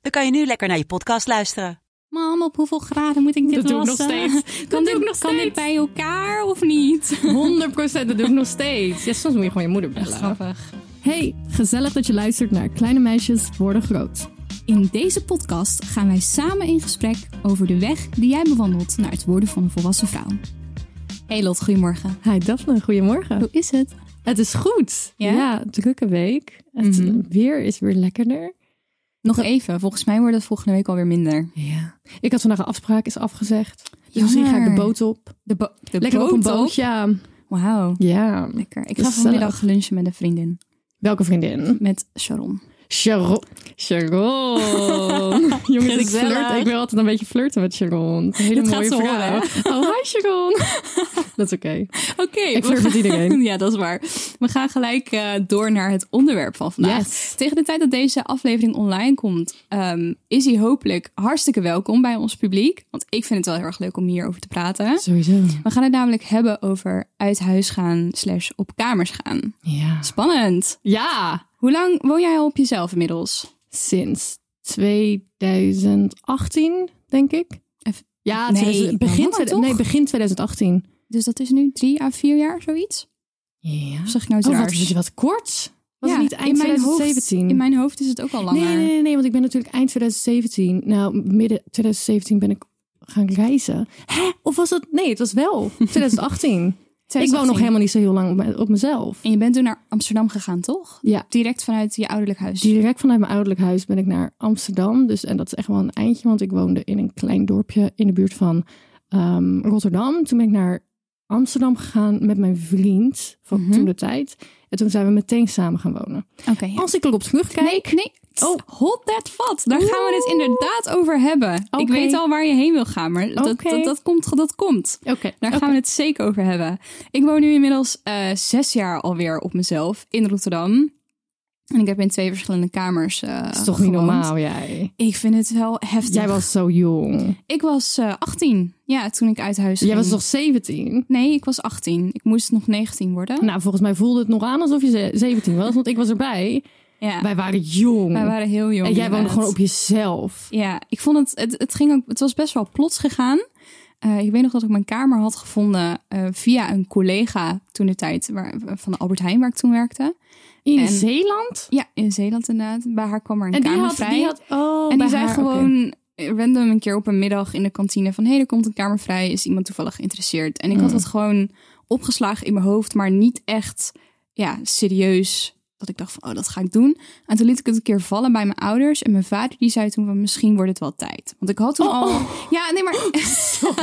dan kan je nu lekker naar je podcast luisteren. Mam, op hoeveel graden moet ik dit Dat doe ik nog wassen? steeds. Kan, Dat doe dit, ik nog kan dit steeds. bij elkaar of niet? 100 procent, dat doe ik nog steeds. Ja, soms moet je gewoon je moeder bellen. Grappig. Hey, gezellig dat je luistert naar Kleine Meisjes Worden Groot. In deze podcast gaan wij samen in gesprek over de weg die jij bewandelt naar het worden van een volwassen vrouw. Hey Lot, goedemorgen. Hi Daphne, goedemorgen. Hoe is het? Het is goed. Ja? drukke week. Het Mhm. weer is weer lekkerder. Nog even, volgens mij wordt het volgende week alweer minder. Ja. Ik had vandaag een afspraak, is afgezegd. Dus Jammer. misschien ga ik de boot op. De, bo- de Lekker boot op een op? boot, ja. Wauw, Ja. lekker. Ik ga Gezellig. vanmiddag lunchen met een vriendin, Welke vriendin? met Sharon. Sharon. Sharon. Jongens, ik Gezellig. flirt. Ik wil altijd een beetje flirten met Sharon. Een hele Dit gaat mooie ze horen, vrouw. Oh, hi Sharon. Dat is oké. Oké, Ik flirt met iedereen. Ja, dat is waar. We gaan gelijk eh, door naar het onderwerp van vandaag. Yes. Tegen de tijd dat deze aflevering online komt, ehm, is hij hopelijk hartstikke welkom bij ons publiek. Want ik vind het wel heel erg leuk om hierover te praten. Sowieso. We gaan het namelijk hebben over uit huis gaan slash op kamers gaan. Ja. Spannend. Ja. Hoe lang woon jij al op jezelf inmiddels? Sinds 2018, denk ik. Even- Ja, Nee, 2000 begin, langer tweede- toch? nee, begin 2018. Dus dat is nu drie à vier jaar, zoiets? Ja. Of zeg ik nou iets Oh, wat, raars? wat, wat kort. Was Ja, het niet eind in mijn Hoofd, 2017? in mijn hoofd is het ook al langer. Nee, nee, nee, nee, want ik ben natuurlijk eind 2017. Nou, midden 2017 ben ik gaan reizen. Hè? Of was dat? Nee, het was wel 2018. ik woon nog 2018. helemaal niet zo heel lang op, me- op mezelf. En je bent toen naar Amsterdam gegaan, toch? Ja. Direct vanuit je ouderlijk huis. Direct vanuit mijn ouderlijk huis ben ik naar Amsterdam. Dus, en dat is echt wel een eindje, want ik woonde in een klein dorpje in de buurt van ehm, Rotterdam. Toen ben ik naar Amsterdam gegaan met mijn vriend van Mhm. toen de tijd. En toen zijn we meteen samen gaan wonen. Oké, ja. Als ik erop terugkijk, Nee, nee. Oh. Oh, hold that vat. Daar gaan we het inderdaad over hebben. Ik Oké. weet al waar je heen wil gaan, maar dat, Oké. dat, dat komt, dat komt. Oké, Daar gaan we het zeker over hebben. Ik woon nu inmiddels eh, zes jaar alweer op mezelf in Rotterdam. En ik heb in twee verschillende kamers eh dat is toch niet gewoond. normaal, jij? Ik vind het wel heftig. Jij was zo jong. Ik was eh 18, ja, toen ik uit huis Jij ging. was toch 17? Nee, ik was 18. Ik moest nog 19 worden. Nou, volgens mij voelde het nog aan alsof je ze- 17 was, want ik was erbij. ja, wij, Wij waren jong. waren heel jong. en jij woonde inderdaad. gewoon op jezelf. Ja, ik vond het, het, het, ging ook, het was best wel plots gegaan. Eh, ik weet nog dat ik mijn kamer had gevonden eh, via een collega toen de tijd waar, van de Albert Heijn, waar ik toen werkte. In En- Zeeland? Ja, in Zeeland inderdaad. Bij haar kwam er een En die kamer had, vrij. die had... Oh, en bij die zei haar, oké. gewoon eh, random een keer op een middag in de kantine van... hé, hey, er komt een kamer vrij, is iemand toevallig geïnteresseerd? En ik Mm. had dat gewoon opgeslagen in mijn hoofd, maar niet echt ja, serieus... Dat ik dacht van, oh, dat ga ik doen. En toen liet ik het een keer vallen bij mijn ouders. En mijn vader die zei toen van, misschien wordt het wel tijd. Want ik had toen Oh. al... Ja, nee, maar...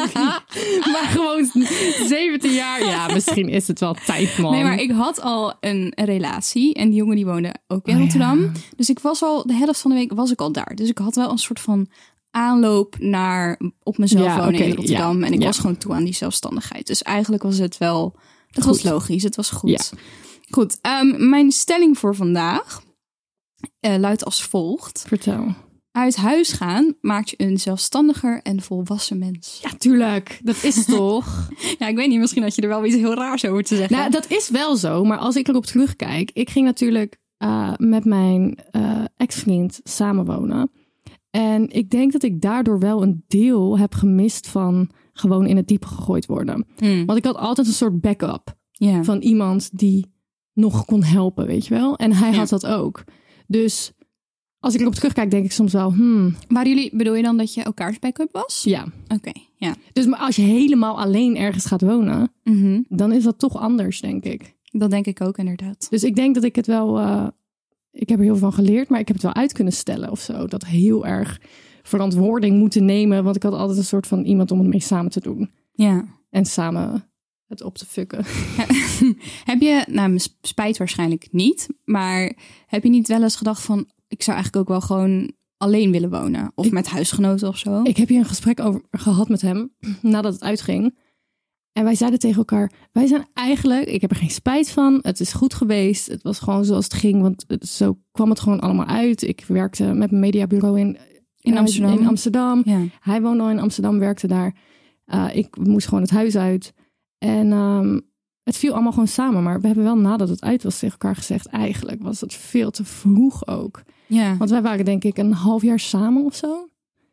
Maar gewoon 17 jaar. Ja, misschien is het wel tijd, man. Nee, maar ik had al een, een relatie en die jongen die woonde ook in Oh, ja. Rotterdam. Dus ik was al de helft van de week was ik al daar. Dus ik had wel een soort van aanloop naar op mezelf Ja, wonen in oké, Rotterdam. ja, en ik ja. was gewoon toe aan die zelfstandigheid. Dus eigenlijk was het wel, het was logisch, het was goed. Goed, ehm, mijn stelling voor vandaag eh, luidt als volgt. Vertel. Uit huis gaan maakt je een zelfstandiger en volwassen mens. Ja, tuurlijk. Dat is toch... Ja, ik weet niet, misschien had je er wel iets heel raars over te zeggen. nou, dat is wel zo. Maar als ik erop terugkijk... Ik ging natuurlijk eh, met mijn eh, ex-vriend samenwonen. En ik denk dat ik daardoor wel een deel heb gemist van... gewoon in het diepe gegooid worden. Hmm, Want ik had altijd een soort backup. ja. van iemand die nog kon helpen, weet je wel. En hij Ja. had dat ook. Dus als ik erop terugkijk, denk ik soms wel, hmm, Waren jullie, bedoel je dan dat je elkaars backup was? ja. Oké, ja. Dus maar als je helemaal alleen ergens gaat wonen, Mhm. dan is dat toch anders, denk ik. Dat denk ik ook inderdaad. Dus ik denk dat ik het wel, eh, ik heb er heel veel van geleerd, maar ik heb het wel uit kunnen stellen of zo. Dat heel erg verantwoording moeten nemen, want ik had altijd een soort van iemand om het mee samen te doen. Ja. En samen het op te fucken. heb je, nou, s- spijt waarschijnlijk niet, maar heb je niet wel eens gedacht van, ik zou eigenlijk ook wel gewoon alleen willen wonen. Of met huisgenoten of zo. Ik heb hier een gesprek over gehad met hem nadat het uitging. En wij zeiden tegen elkaar: Wij zijn eigenlijk, ik heb er geen spijt van. Het is goed geweest. Het was gewoon zoals het ging. Want het- zo kwam het gewoon allemaal uit. Ik werkte met een mediabureau in, In Amsterdam. in Amsterdam. ja. Hij woonde al in Amsterdam, werkte daar. Uh, ik moest gewoon het huis uit. En ehm, het viel allemaal gewoon samen. Maar we hebben wel nadat het uit was tegen elkaar gezegd... eigenlijk was het veel te vroeg ook. ja. Want wij waren denk ik een half jaar samen of zo.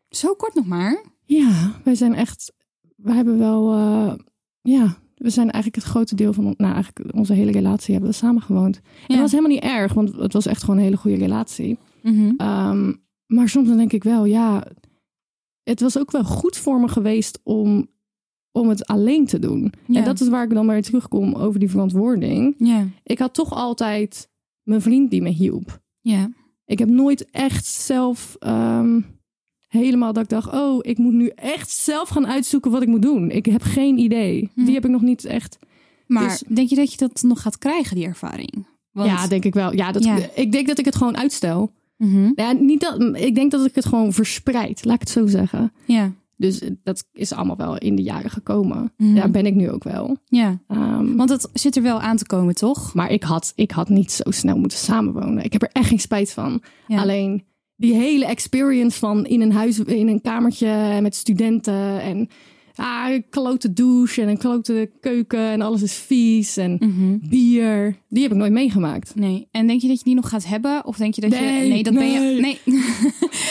Zo kort nog maar. Ja, wij zijn echt... Wij hebben wel... eh, ja, we zijn eigenlijk het grote deel van... on- Nou, eigenlijk onze hele relatie hebben we samen gewoond. En Ja. dat was helemaal niet erg, want het was echt gewoon een hele goede relatie. Mhm. Ehm, maar soms dan denk ik wel, ja, het was ook wel goed voor me geweest om, om het alleen te doen. Ja. En dat is waar ik dan weer terugkom over die verantwoording. Ja. Ik had toch altijd mijn vriend die me hielp. Ja. Ik heb nooit echt zelf ehm, helemaal dat ik dacht, oh, ik moet nu echt zelf gaan uitzoeken wat ik moet doen. Ik heb geen idee. Hm. Die heb ik nog niet echt. Maar Dus- denk je dat je dat nog gaat krijgen, die ervaring? Want- Ja, denk ik wel. Ja, dat, Ja. ik denk dat ik het gewoon uitstel. Mhm. Ja, niet dat, ik denk dat ik het gewoon verspreid, laat ik het zo zeggen. Ja. Dus eh, dat is allemaal wel in de jaren gekomen. Mhm. Daar ben ik nu ook wel. Ja. Ehm, Want het zit er wel aan te komen, toch? maar ik had, ik had niet zo snel moeten samenwonen. Ik heb er echt geen spijt van. Ja. Alleen die hele experience van in een huis, in een kamertje met studenten en ah, een klote douche en een klote keuken en alles is vies en Mhm. bier. Die heb ik nooit meegemaakt. Nee. En denk je dat je die nog gaat hebben? Of denk je dat Nee, je... Nee, dat ben je... nee. Nee.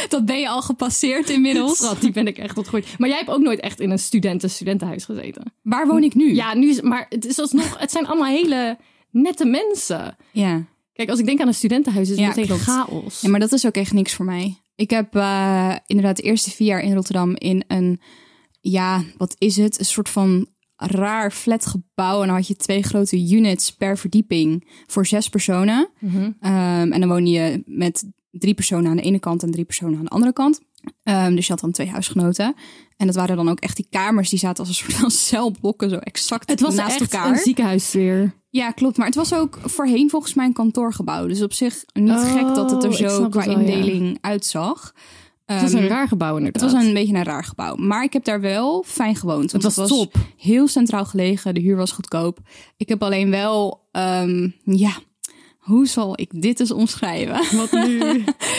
dat ben je al gepasseerd inmiddels. Schat, die ben ik echt wat goed. Maar jij hebt ook nooit echt in een studenten-studentenhuis gezeten. Waar woon ik nu? Ja, nu is, maar het is alsnog, het zijn allemaal hele nette mensen. Ja. Kijk, als ik denk aan een studentenhuis, is het Ja, meteen klopt. chaos. Ja, maar dat is ook echt niks voor mij. Ik heb eh, inderdaad de eerste vier jaar in Rotterdam in een, ja, wat is het? Een soort van raar flatgebouw. En dan had je twee grote units per verdieping voor zes personen. Mhm. Ehm, en dan woon je met drie personen aan de ene kant en drie personen aan de andere kant. Ehm, dus je had dan twee huisgenoten. En dat waren dan ook echt die kamers die zaten als een soort van celblokken, zo exact het was naast echt elkaar. een ziekenhuissfeer. Ja, klopt. Maar het was ook voorheen volgens mij een kantoorgebouw. Dus op zich niet Oh, gek dat het er ik zo snap qua het wel, ja. indeling uitzag. Het was Ehm, een raar gebouw het inderdaad. was een beetje een raar gebouw. Maar ik heb daar wel fijn gewoond. Want was top. heel centraal gelegen. De huur was goedkoop. Ik heb alleen wel... ehm, ja, hoe zal ik dit eens omschrijven? Wat nu?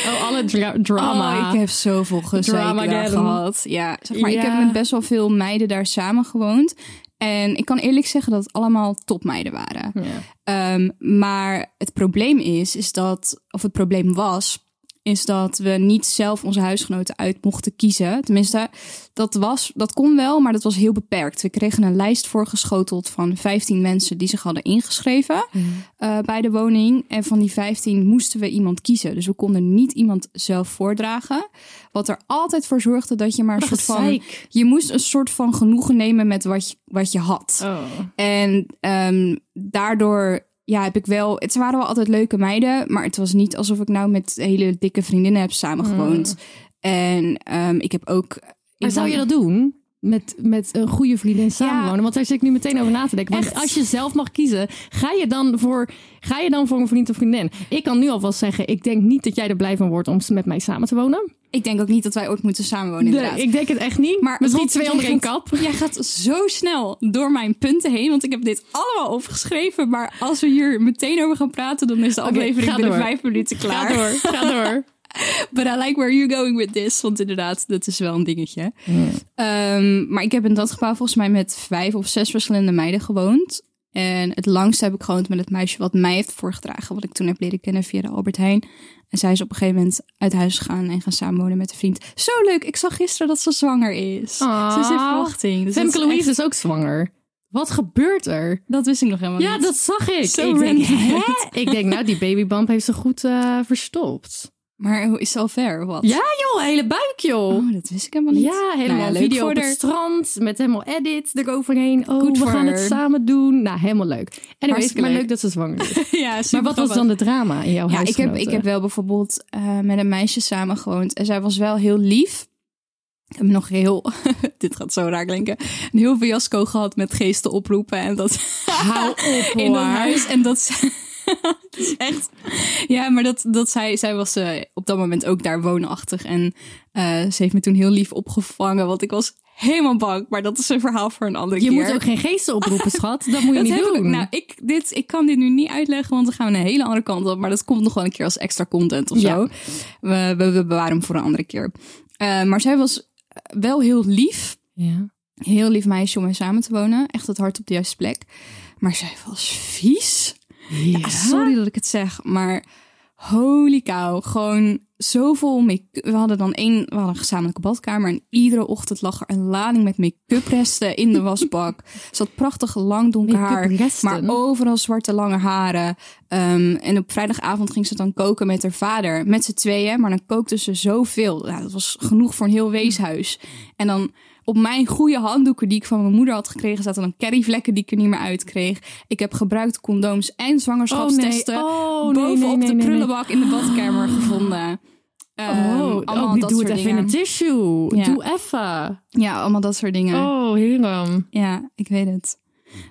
Oh, alle dra- drama. Oh, ik heb zoveel gezeik daar Dramageddon. gehad. Ja, zeg maar, ik Ja. heb met best wel veel meiden daar samen gewoond. En ik kan eerlijk zeggen dat het allemaal topmeiden waren. Ja. Ehm, maar het probleem is, is dat, of het probleem was, is dat we niet zelf onze huisgenoten uit mochten kiezen. Tenminste, dat, was, dat kon wel, maar dat was heel beperkt. We kregen een lijst voorgeschoteld van 15 mensen die zich hadden ingeschreven Mhm. eh, bij de woning. En van die 15 moesten we iemand kiezen. Dus we konden niet iemand zelf voordragen. Wat er altijd voor zorgde dat je maar een Wat soort van. gezeik. Je moest een soort van genoegen nemen met wat je, wat je had. Oh. En ehm, daardoor ja, heb ik wel. Het waren wel altijd leuke meiden, maar het was niet alsof ik nou met hele dikke vriendinnen heb samengewoond. En ehm, ik heb ook. Mm. Maar ik zou woon- je dat doen? Met, met een goede vriendin samenwonen? Want daar zit ik nu meteen over na te denken. Want Echt. als je zelf mag kiezen, ga je, dan voor, ga je dan voor een vriend of vriendin? Ik kan nu alvast zeggen, ik denk niet dat jij er blij van wordt om met mij samen te wonen. Ik denk ook niet dat wij ooit moeten samenwonen. Nee, inderdaad. ik denk het echt niet. maar Misschien Rot, twee jij onder één gaat- kap. Jij gaat zo snel door mijn punten heen, want ik heb dit allemaal opgeschreven. Maar als we hier meteen over gaan praten, dan is de aflevering ga binnen door. vijf minuten klaar. Ga door, ga door. But I like where you're going with this. Want inderdaad, dat is wel een dingetje. Ehm, maar ik heb in dat gebouw volgens mij met vijf of zes verschillende meiden gewoond. En het langst heb ik gewoond met het meisje wat mij heeft voorgedragen. Wat ik toen heb leren kennen via de Albert Heijn. En zij is op een gegeven moment uit huis gegaan en gaan samenwonen met een vriend. Zo leuk! Ik zag gisteren dat ze zwanger is. Ah. Ze is in verwachting. Dus dat, Femke is Louise echt- is ook zwanger. Wat gebeurt er? dat wist ik nog helemaal Ja, niet. dat zag ik. Oh, Zo ik, denk, random. hè? ik denk, nou, die babybump heeft ze goed eh, verstopt. Maar hoe is het al ver? of Wat? Ja, joh, hele buik, joh. Oh, dat wist ik helemaal niet. Ja, helemaal Nou ja, leuk video voor op het haar. strand met helemaal edit eroverheen. Oh, Goed we voor gaan het haar. samen doen. Nou, helemaal leuk. En Hartstikke maar leuk. leuk dat ze zwanger is. ja, maar wat was supergrappig. dan de drama in jouw Ja, ik heb, huisgenoten? ik heb wel bijvoorbeeld eh, met een meisje samengewoond. En zij was wel heel lief. Ik heb nog heel, dit gaat zo raar klinken, een heel fiasco gehad met geesten oproepen en dat Hou op, in dat hoor. huis. En dat, zij- Het is echt. Ja, maar dat, dat zij, zij was eh, op dat moment ook daar woonachtig. En eh, ze heeft me toen heel lief opgevangen, want ik was helemaal bang. Maar dat is een verhaal voor een andere Je keer. moet ook geen geesten oproepen, schat. Dat moet je Dat niet heb ik ook. doen. nou, ik, dit, ik kan dit nu niet uitleggen, want dan gaan we een hele andere kant op. Maar dat komt nog wel een keer als extra content of Ja. zo. We, we, we bewaren hem voor een andere keer. Eh, maar zij was wel heel lief. ja. Heel lief meisje om mee samen te wonen. Echt het hart op de juiste plek. Maar zij was vies. Ja, sorry dat ik het zeg, maar holy cow. Gewoon zoveel make-up. We hadden dan één, we hadden een gezamenlijke badkamer. En iedere ochtend lag er een lading met make-up resten in de wasbak. Ze had prachtig lang donker haar. Make-up resten? Maar overal zwarte lange haren. Ehm, en op vrijdagavond ging ze dan koken met haar vader. Met z'n tweeën, maar dan kookte ze zoveel. Ja, dat was genoeg voor een heel weeshuis. En dan op mijn goede handdoeken die ik van mijn moeder had gekregen... zaten dan kerryvlekken die ik er niet meer uit kreeg. Ik heb gebruikt condooms en zwangerschapstesten... Oh, nee, bovenop nee, nee, de nee, nee. prullenbak in de badkamer gevonden. Ehm, Oh, allemaal ook die dat doe soort het even in dingen. een tissue. Ja. Doe even. Ja, allemaal dat soort dingen. Oh, hierom. Ja, ik weet het.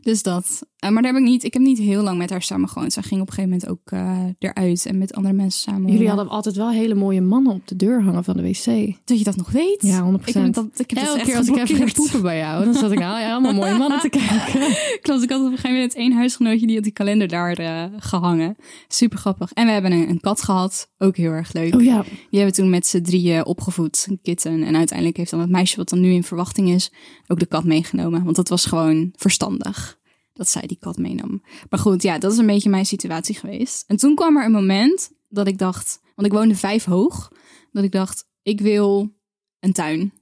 Dus dat. Eh, maar daar heb ik niet. Ik heb niet heel lang met haar samen gewoond. Zij ging op een gegeven moment ook eh, eruit en met andere mensen samen. Jullie wonen. hadden altijd wel hele mooie mannen op de deur hangen van de wc. dat je dat nog weet. Ja, 100%. Ik heb dat. Ik heb dat Elke echt keer als ik dus even ging geblokkeerd. poepen bij jou, dan zat ik nou ja, allemaal mooie mannen te kijken. Klopt, ik had op een gegeven moment één huisgenootje die had die kalender daar eh, gehangen. Super grappig. En we hebben een, een kat gehad. Ook heel erg leuk. Oh ja, Die hebben toen met z'n drieën opgevoed, een kitten. En uiteindelijk heeft dan het meisje wat dan nu in verwachting is, ook de kat meegenomen. Want dat was gewoon verstandig dat zij die kat meenam. Maar goed, ja, dat is een beetje mijn situatie geweest. En toen kwam er een moment dat ik dacht, want ik woonde vijf hoog, dat ik dacht, ik wil een tuin.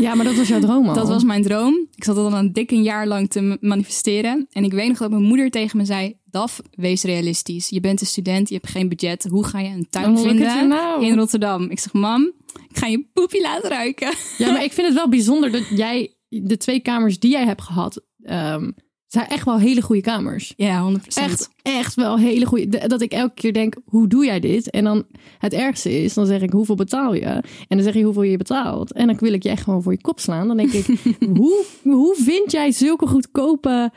ja, maar dat was jouw droom al. Dat was mijn droom. Ik zat al een dikke jaar lang te manifesteren. En ik weet nog dat mijn moeder tegen me zei, Daf, wees realistisch. Je bent een student, je hebt geen budget. Hoe ga je een tuin Oh, look at vinden? you now. in Rotterdam. Ik zeg, mam, ik ga je poepie laten ruiken. Ja, maar ik vind het wel bijzonder dat jij de twee kamers die jij hebt gehad, ehm, zijn echt wel hele goede kamers. Ja, 100%. Echt, echt wel hele goede. Dat ik elke keer denk, hoe doe jij dit? En dan het ergste is, dan zeg ik, hoeveel betaal je? En dan zeg je hoeveel je betaalt. En dan wil ik je echt gewoon voor je kop slaan. Dan denk ik, hoe, hoe vind jij zulke goedkope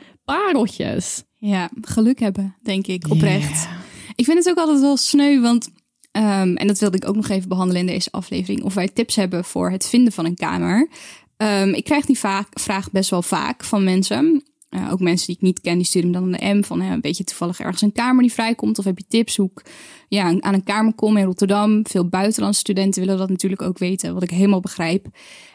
pareltjes? Ja, geluk hebben, denk ik, oprecht. Ik vind het ook altijd wel sneu, want... ehm, en dat wilde ik ook nog even behandelen in deze aflevering. Of wij tips hebben voor het vinden van een kamer. Ehm, ik krijg die vaak, vraag best wel vaak van mensen. Eh, ook mensen die ik niet ken, die sturen me dan een M van... hè, weet je toevallig ergens een kamer die vrijkomt? Of heb je tips hoe ik ja, aan- aan een kamer kom in Rotterdam? Veel buitenlandse studenten willen dat natuurlijk ook weten, wat ik helemaal begrijp.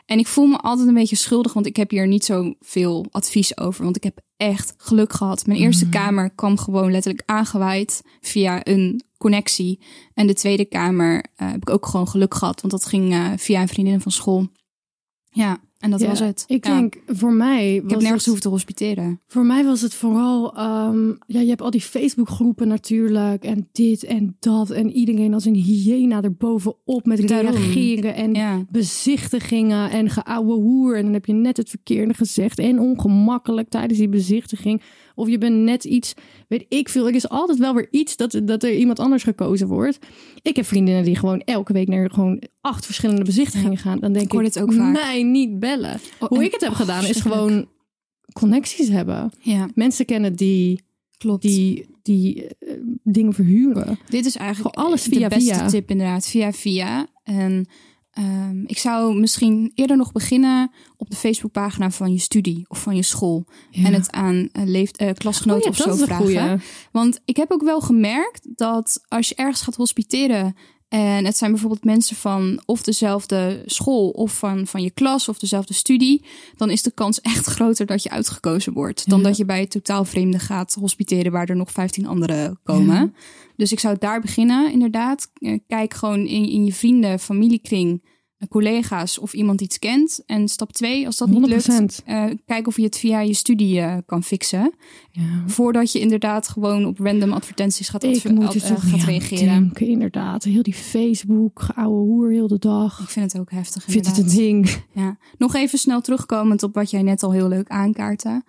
En ik voel me altijd een beetje schuldig, want ik heb hier niet zoveel advies over. Want ik heb echt geluk gehad. Mijn eerste Mm. kamer kwam gewoon letterlijk aangewaaid via een connectie. En de tweede kamer eh, heb ik ook gewoon geluk gehad, want dat ging eh, via een vriendin van school. Ja, en dat Ja, was het. Ik Ja. denk, voor mij... ik heb nergens het, hoeven te hospiteren. Voor mij was het vooral... ehm, ja, je hebt al die Facebookgroepen natuurlijk. En dit en dat. En iedereen als een hyena erbovenop met Daarom. reageren. En Ja. bezichtigingen en geouwe hoer. En dan heb je net het verkeerde gezegd. En ongemakkelijk tijdens die bezichtiging. Of je bent net iets, weet ik veel. Er is altijd wel weer iets dat, dat er iemand anders gekozen wordt. Ik heb vriendinnen die gewoon elke week naar gewoon acht verschillende bezichtigingen gaan. Dan denk ik, hoor dit ook vaak. nee, niet bellen. Oh, Hoe en- ik het heb oh, gedaan is verschrikkelijk. gewoon connecties hebben. Ja, Mensen kennen die, klopt. die, die eh, dingen verhuren. Dit is eigenlijk Gewoon alles de via beste via. tip inderdaad, via via. En ehm, ik zou misschien eerder nog beginnen op de Facebookpagina van je studie of van je school. En het aan eh, leeft, eh, Oh klasgenoten ja, of dat zo is een vragen. goeie. Want ik heb ook wel gemerkt dat als je ergens gaat hospiteren... en het zijn bijvoorbeeld mensen van of dezelfde school... of van, van je klas of dezelfde studie... dan is de kans echt groter dat je uitgekozen wordt... dan dat je bij totaal vreemden gaat hospiteren... waar er nog 15 anderen komen. Dus ik zou daar beginnen, inderdaad. Eh, Kijk gewoon in, in je vrienden, familiekring... eh, collega's of iemand iets kent. En stap twee, als dat niet lukt... 100%. eh, kijk of je het via je studie eh, kan fixen. Ja. Voordat je inderdaad gewoon op random advertenties gaat, adver- Ik moet ad- er eh, toch gaat niet aan reageren. denken, inderdaad. Heel die Facebook, ouwe hoer heel de dag. Ik vind het ook heftig. Ik vind het een inderdaad. ding. Ja. Nog even snel terugkomend op wat jij net al heel leuk aankaartte.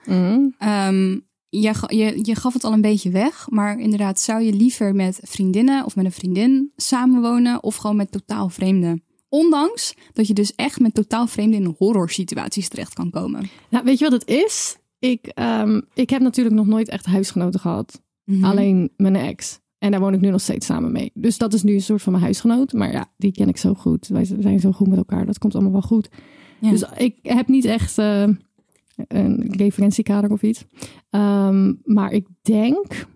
Ehm, jij ga- je, je gaf het al een beetje weg, maar inderdaad, zou je liever met vriendinnen of met een vriendin samenwonen of gewoon met totaal vreemden? Ondanks dat je dus echt met totaal vreemden in horror situaties terecht kan komen. Nou, weet je wat het is? Ik, ehm, ik heb natuurlijk nog nooit echt huisgenoten gehad. Mhm. Alleen mijn ex. En daar woon ik nu nog steeds samen mee. Dus dat is nu een soort van mijn huisgenoot. Maar ja, die ken ik zo goed. Wij z- zijn zo goed met elkaar. Dat komt allemaal wel goed. Ja. Dus ik heb niet echt eh, een referentiekader of iets. Ehm, maar ik denk...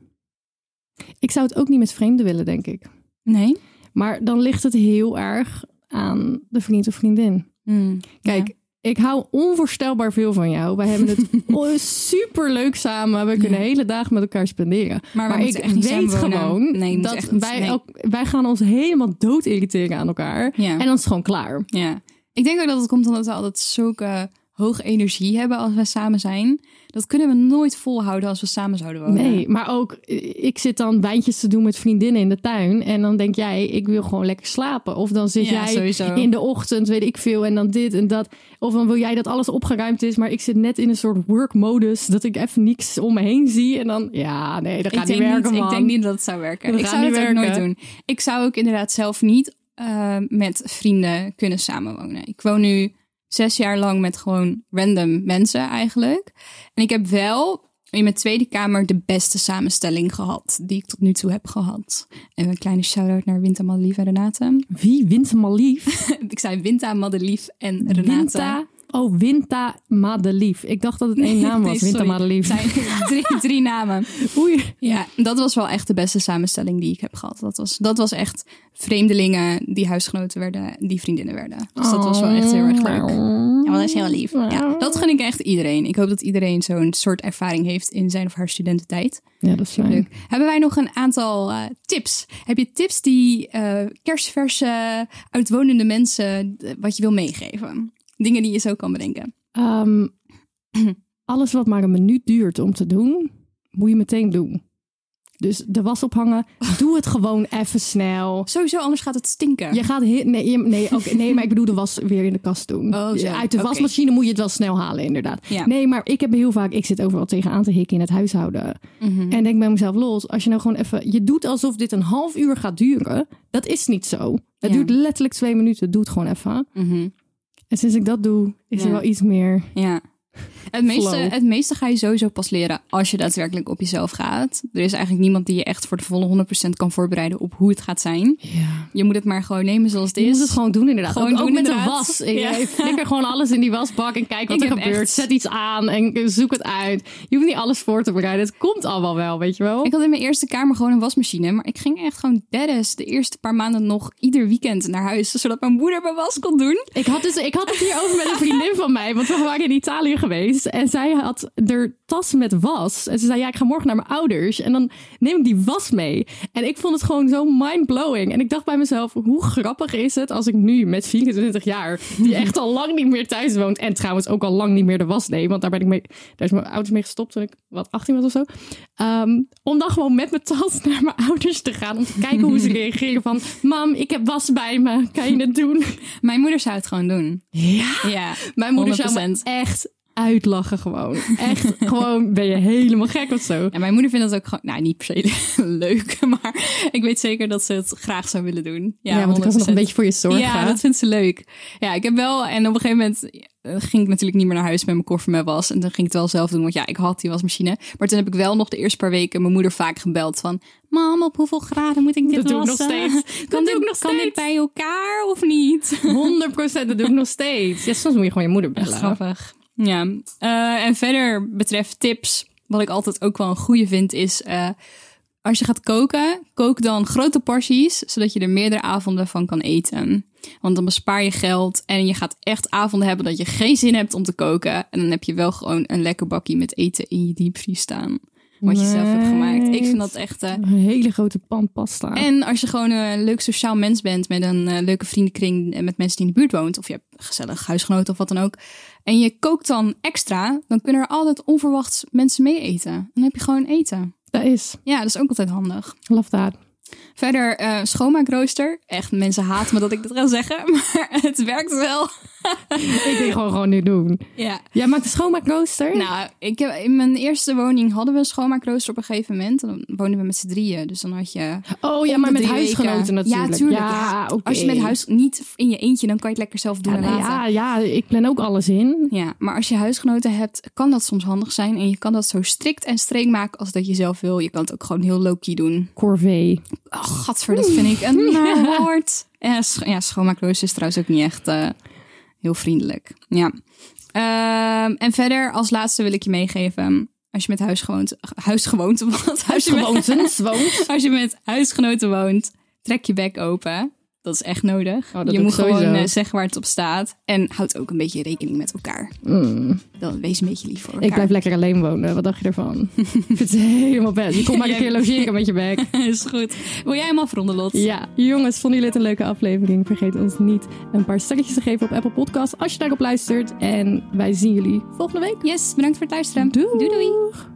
Ik zou het ook niet met vreemden willen, denk ik. Nee? Maar dan ligt het heel erg aan de vriend of vriendin. Hmm, Kijk, ja. ik hou onvoorstelbaar veel van jou. Wij hebben het super leuk samen. We kunnen Ja. hele dagen met elkaar spenderen. Maar, we Maar ik moeten echt niet weet samenwonen. gewoon Nee, je moet dat echt niet- wij, nee. ook, wij gaan ons helemaal dood irriteren aan elkaar. Ja. En dan is het gewoon klaar. Ja, ik denk ook dat het komt omdat we altijd zulke hoge energie hebben als we samen zijn. Dat kunnen we nooit volhouden als we samen zouden wonen. Nee, maar ook eh, ik zit dan wijntjes te doen met vriendinnen in de tuin. En dan denk jij, ik wil gewoon lekker slapen. Of dan zit Ja, jij sowieso. in de ochtend, weet ik veel. En dan dit en dat. Of dan wil jij dat alles opgeruimd is. Maar ik zit net in een soort work-modus. Dat ik even niks om me heen zie. En dan, ja, nee, dat ik gaat niet denk, werken, niet, ik man. denk niet dat het zou werken. Dat ik gaat zou niet het ook nooit werken. doen. Ik zou ook inderdaad zelf niet eh, met vrienden kunnen samenwonen. Ik woon nu zes jaar lang met gewoon random mensen eigenlijk. En ik heb wel in mijn tweede kamer de beste samenstelling gehad die ik tot nu toe heb gehad. En een kleine shout-out naar Winta, Madelief en Renate. Wie wint hem al lief? Ik zei Winta, Madelief en Renate. Winta. Oh, Winta Madelief. Ik dacht dat het één naam was. Nee, Winta sorry. Madelief. Het zijn drie, drie namen. Oei. Ja, dat was wel echt de beste samenstelling die ik heb gehad. Dat was, dat was echt vreemdelingen die huisgenoten werden, die vriendinnen werden. Dus dat was wel echt heel erg leuk. Ja, dat is heel lief. Ja, dat gun ik echt iedereen. Ik hoop dat iedereen zo'n soort ervaring heeft in zijn of haar studententijd. Ja, dat is fijn. Leuk. Hebben wij nog een aantal eh, tips? Heb je tips die eh kerstverse, uitwonende mensen, eh, wat je wil meegeven? Dingen die je zo kan bedenken. Ehm, alles wat maar een minuut duurt om te doen, moet je meteen doen. Dus de was ophangen, doe het gewoon even snel. Sowieso, anders gaat het stinken. Je gaat he- nee, je- nee, oké, nee, maar ik bedoel de was weer in de kast doen. Oh, zo. Uit de Oké. wasmachine moet je het wel snel halen, inderdaad. Ja. Nee, maar ik heb heel vaak, ik zit overal tegenaan te hikken in het huishouden. Mhm. En denk bij mezelf, los, als je nou gewoon even, je doet alsof dit een half uur gaat duren. Dat is niet zo. Het Ja. duurt letterlijk twee minuten, doe het gewoon even. Mhm. En sinds ik dat doe, is Ja. er wel iets meer. Ja. Het meeste, Flow. het meeste ga je sowieso pas leren als je daadwerkelijk op jezelf gaat. Er is eigenlijk niemand die je echt voor de volle 100% kan voorbereiden op hoe het gaat zijn. Ja. Je moet het maar gewoon nemen zoals het Je is. moet het gewoon doen inderdaad. Gewoon ook, ook doen, met de inderdaad. was. Ik Ja. ik flikker gewoon alles in die wasbak en kijk wat Ik er heb gebeurt. echt- Zet iets aan en zoek het uit. Je hoeft niet alles voor te bereiden. Het komt allemaal wel, weet je wel. Ik had in mijn eerste kamer gewoon een wasmachine, maar ik ging echt gewoon deadass de eerste paar maanden nog ieder weekend naar huis, zodat mijn moeder mijn was kon doen. Ik had, dus, ik had het hier over met een vriendin van mij, want we waren in Italië geweest. En zij had haar tas met was. En ze zei, ja, ik ga morgen naar mijn ouders. En dan neem ik die was mee. En ik vond het gewoon zo mind-blowing. En ik dacht bij mezelf, hoe grappig is het als ik nu met 24 jaar, die echt al lang niet meer thuis woont. En trouwens ook al lang niet meer de was deed. Want daar, ben ik mee, daar is mijn ouders mee gestopt toen ik, wat, 18 was of zo. Ehm, om dan gewoon met mijn tas naar mijn ouders te gaan. Om te kijken hoe ze reageren van, mam, ik heb was bij me. Kan je het doen? Mijn moeder zou het gewoon doen. Ja. Ja, Mijn moeder zou 100%. me echt uitlachen gewoon. Echt gewoon, ben je helemaal gek of zo? En mijn moeder vindt dat ook gewoon, nou niet per se leuk, maar ik weet zeker dat ze het graag zou willen doen. Ja, Ja, want ik was nog 100%. een beetje voor je zorgen. Ja, dat vindt ze leuk. Ja, ik heb wel. En op een gegeven moment eh, ging ik natuurlijk niet meer naar huis met mijn koffer met was. En toen ging ik het wel zelf doen, want ja, ik had die wasmachine. Maar toen heb ik wel nog de eerste paar weken mijn moeder vaak gebeld van... Mam, op hoeveel graden moet ik dit Dat doe ik nog wassen? steeds. Dat Kan, doe dit, ik nog kan dit steeds. bij elkaar of niet? 100% dat doe ik nog steeds. Ja, soms moet je gewoon je moeder bellen. Grappig. Ja. Eh, en verder betreft tips, wat ik altijd ook wel een goede vind, is eh, als je gaat koken, kook dan grote porties, zodat je er meerdere avonden van kan eten. Want dan bespaar je geld en je gaat echt avonden hebben dat je geen zin hebt om te koken. En dan heb je wel gewoon een lekker bakje met eten in je diepvries staan. Wat je zelf hebt gemaakt. Ik vind dat echt... eh, Een hele grote pan pasta. en als je gewoon een leuk sociaal mens bent met een eh, leuke vriendenkring eh, met mensen die in de buurt woont, of je hebt een gezellig huisgenoten of wat dan ook, en je kookt dan extra, dan kunnen er altijd onverwachts mensen mee eten. En Dan heb je gewoon eten. Dat is, Ja, dat is ook altijd handig. love that. Verder, eh schoonmaakrooster. Echt, mensen haten me dat ik dit ga zeggen, maar het werkt wel. ik denk gewoon, gewoon niet doen. Ja. Jij maakt een schoonmaakrooster? Nou, ik heb, in mijn eerste woning hadden we een schoonmaakrooster op een gegeven moment. En dan woonden we met z'n drieën. Dus dan had je... oh ja, om maar de met drie huisgenoten weken- natuurlijk. Ja, tuurlijk. Ja, oké. Als je met huis niet in je eentje, dan kan je het lekker zelf doen Ja, en nou laten. ja, ja, ik plan ook alles in. Ja, maar als je huisgenoten hebt, kan dat soms handig zijn. En je kan dat zo strikt en streng maken als dat je zelf wil. Je kan het ook gewoon heel low-key doen. Corvée. Oh, gadver, dat vind ik een naar woord. Ja, sch ja schoonmaakloos is trouwens ook niet echt eh, heel vriendelijk. Ja. Ehm, en verder, als laatste wil ik je meegeven... Als je met huisgewoonte... Huisgewoonte, wat? Als je met- Gewoontens, woont. als je met huisgenoten woont, trek je bek open. Dat is echt nodig. Oh, dat je doe moet ik sowieso. gewoon eh, zeggen waar het op staat. En houd ook een beetje rekening met elkaar. Mm. Dan wees een beetje lief voor elkaar. Ik blijf lekker alleen wonen. Wat dacht je ervan? ik vind het helemaal best. Je komt maar een Jij- keer logeren met je bek. is goed. Wil jij hem afronden, Lot? Ja, jongens, vonden jullie het een leuke aflevering? Vergeet ons niet een paar sterretjes te geven op Apple Podcasts als je daarop luistert. En wij zien jullie volgende week. Yes, bedankt voor het luisteren. doei. doei. Doeg.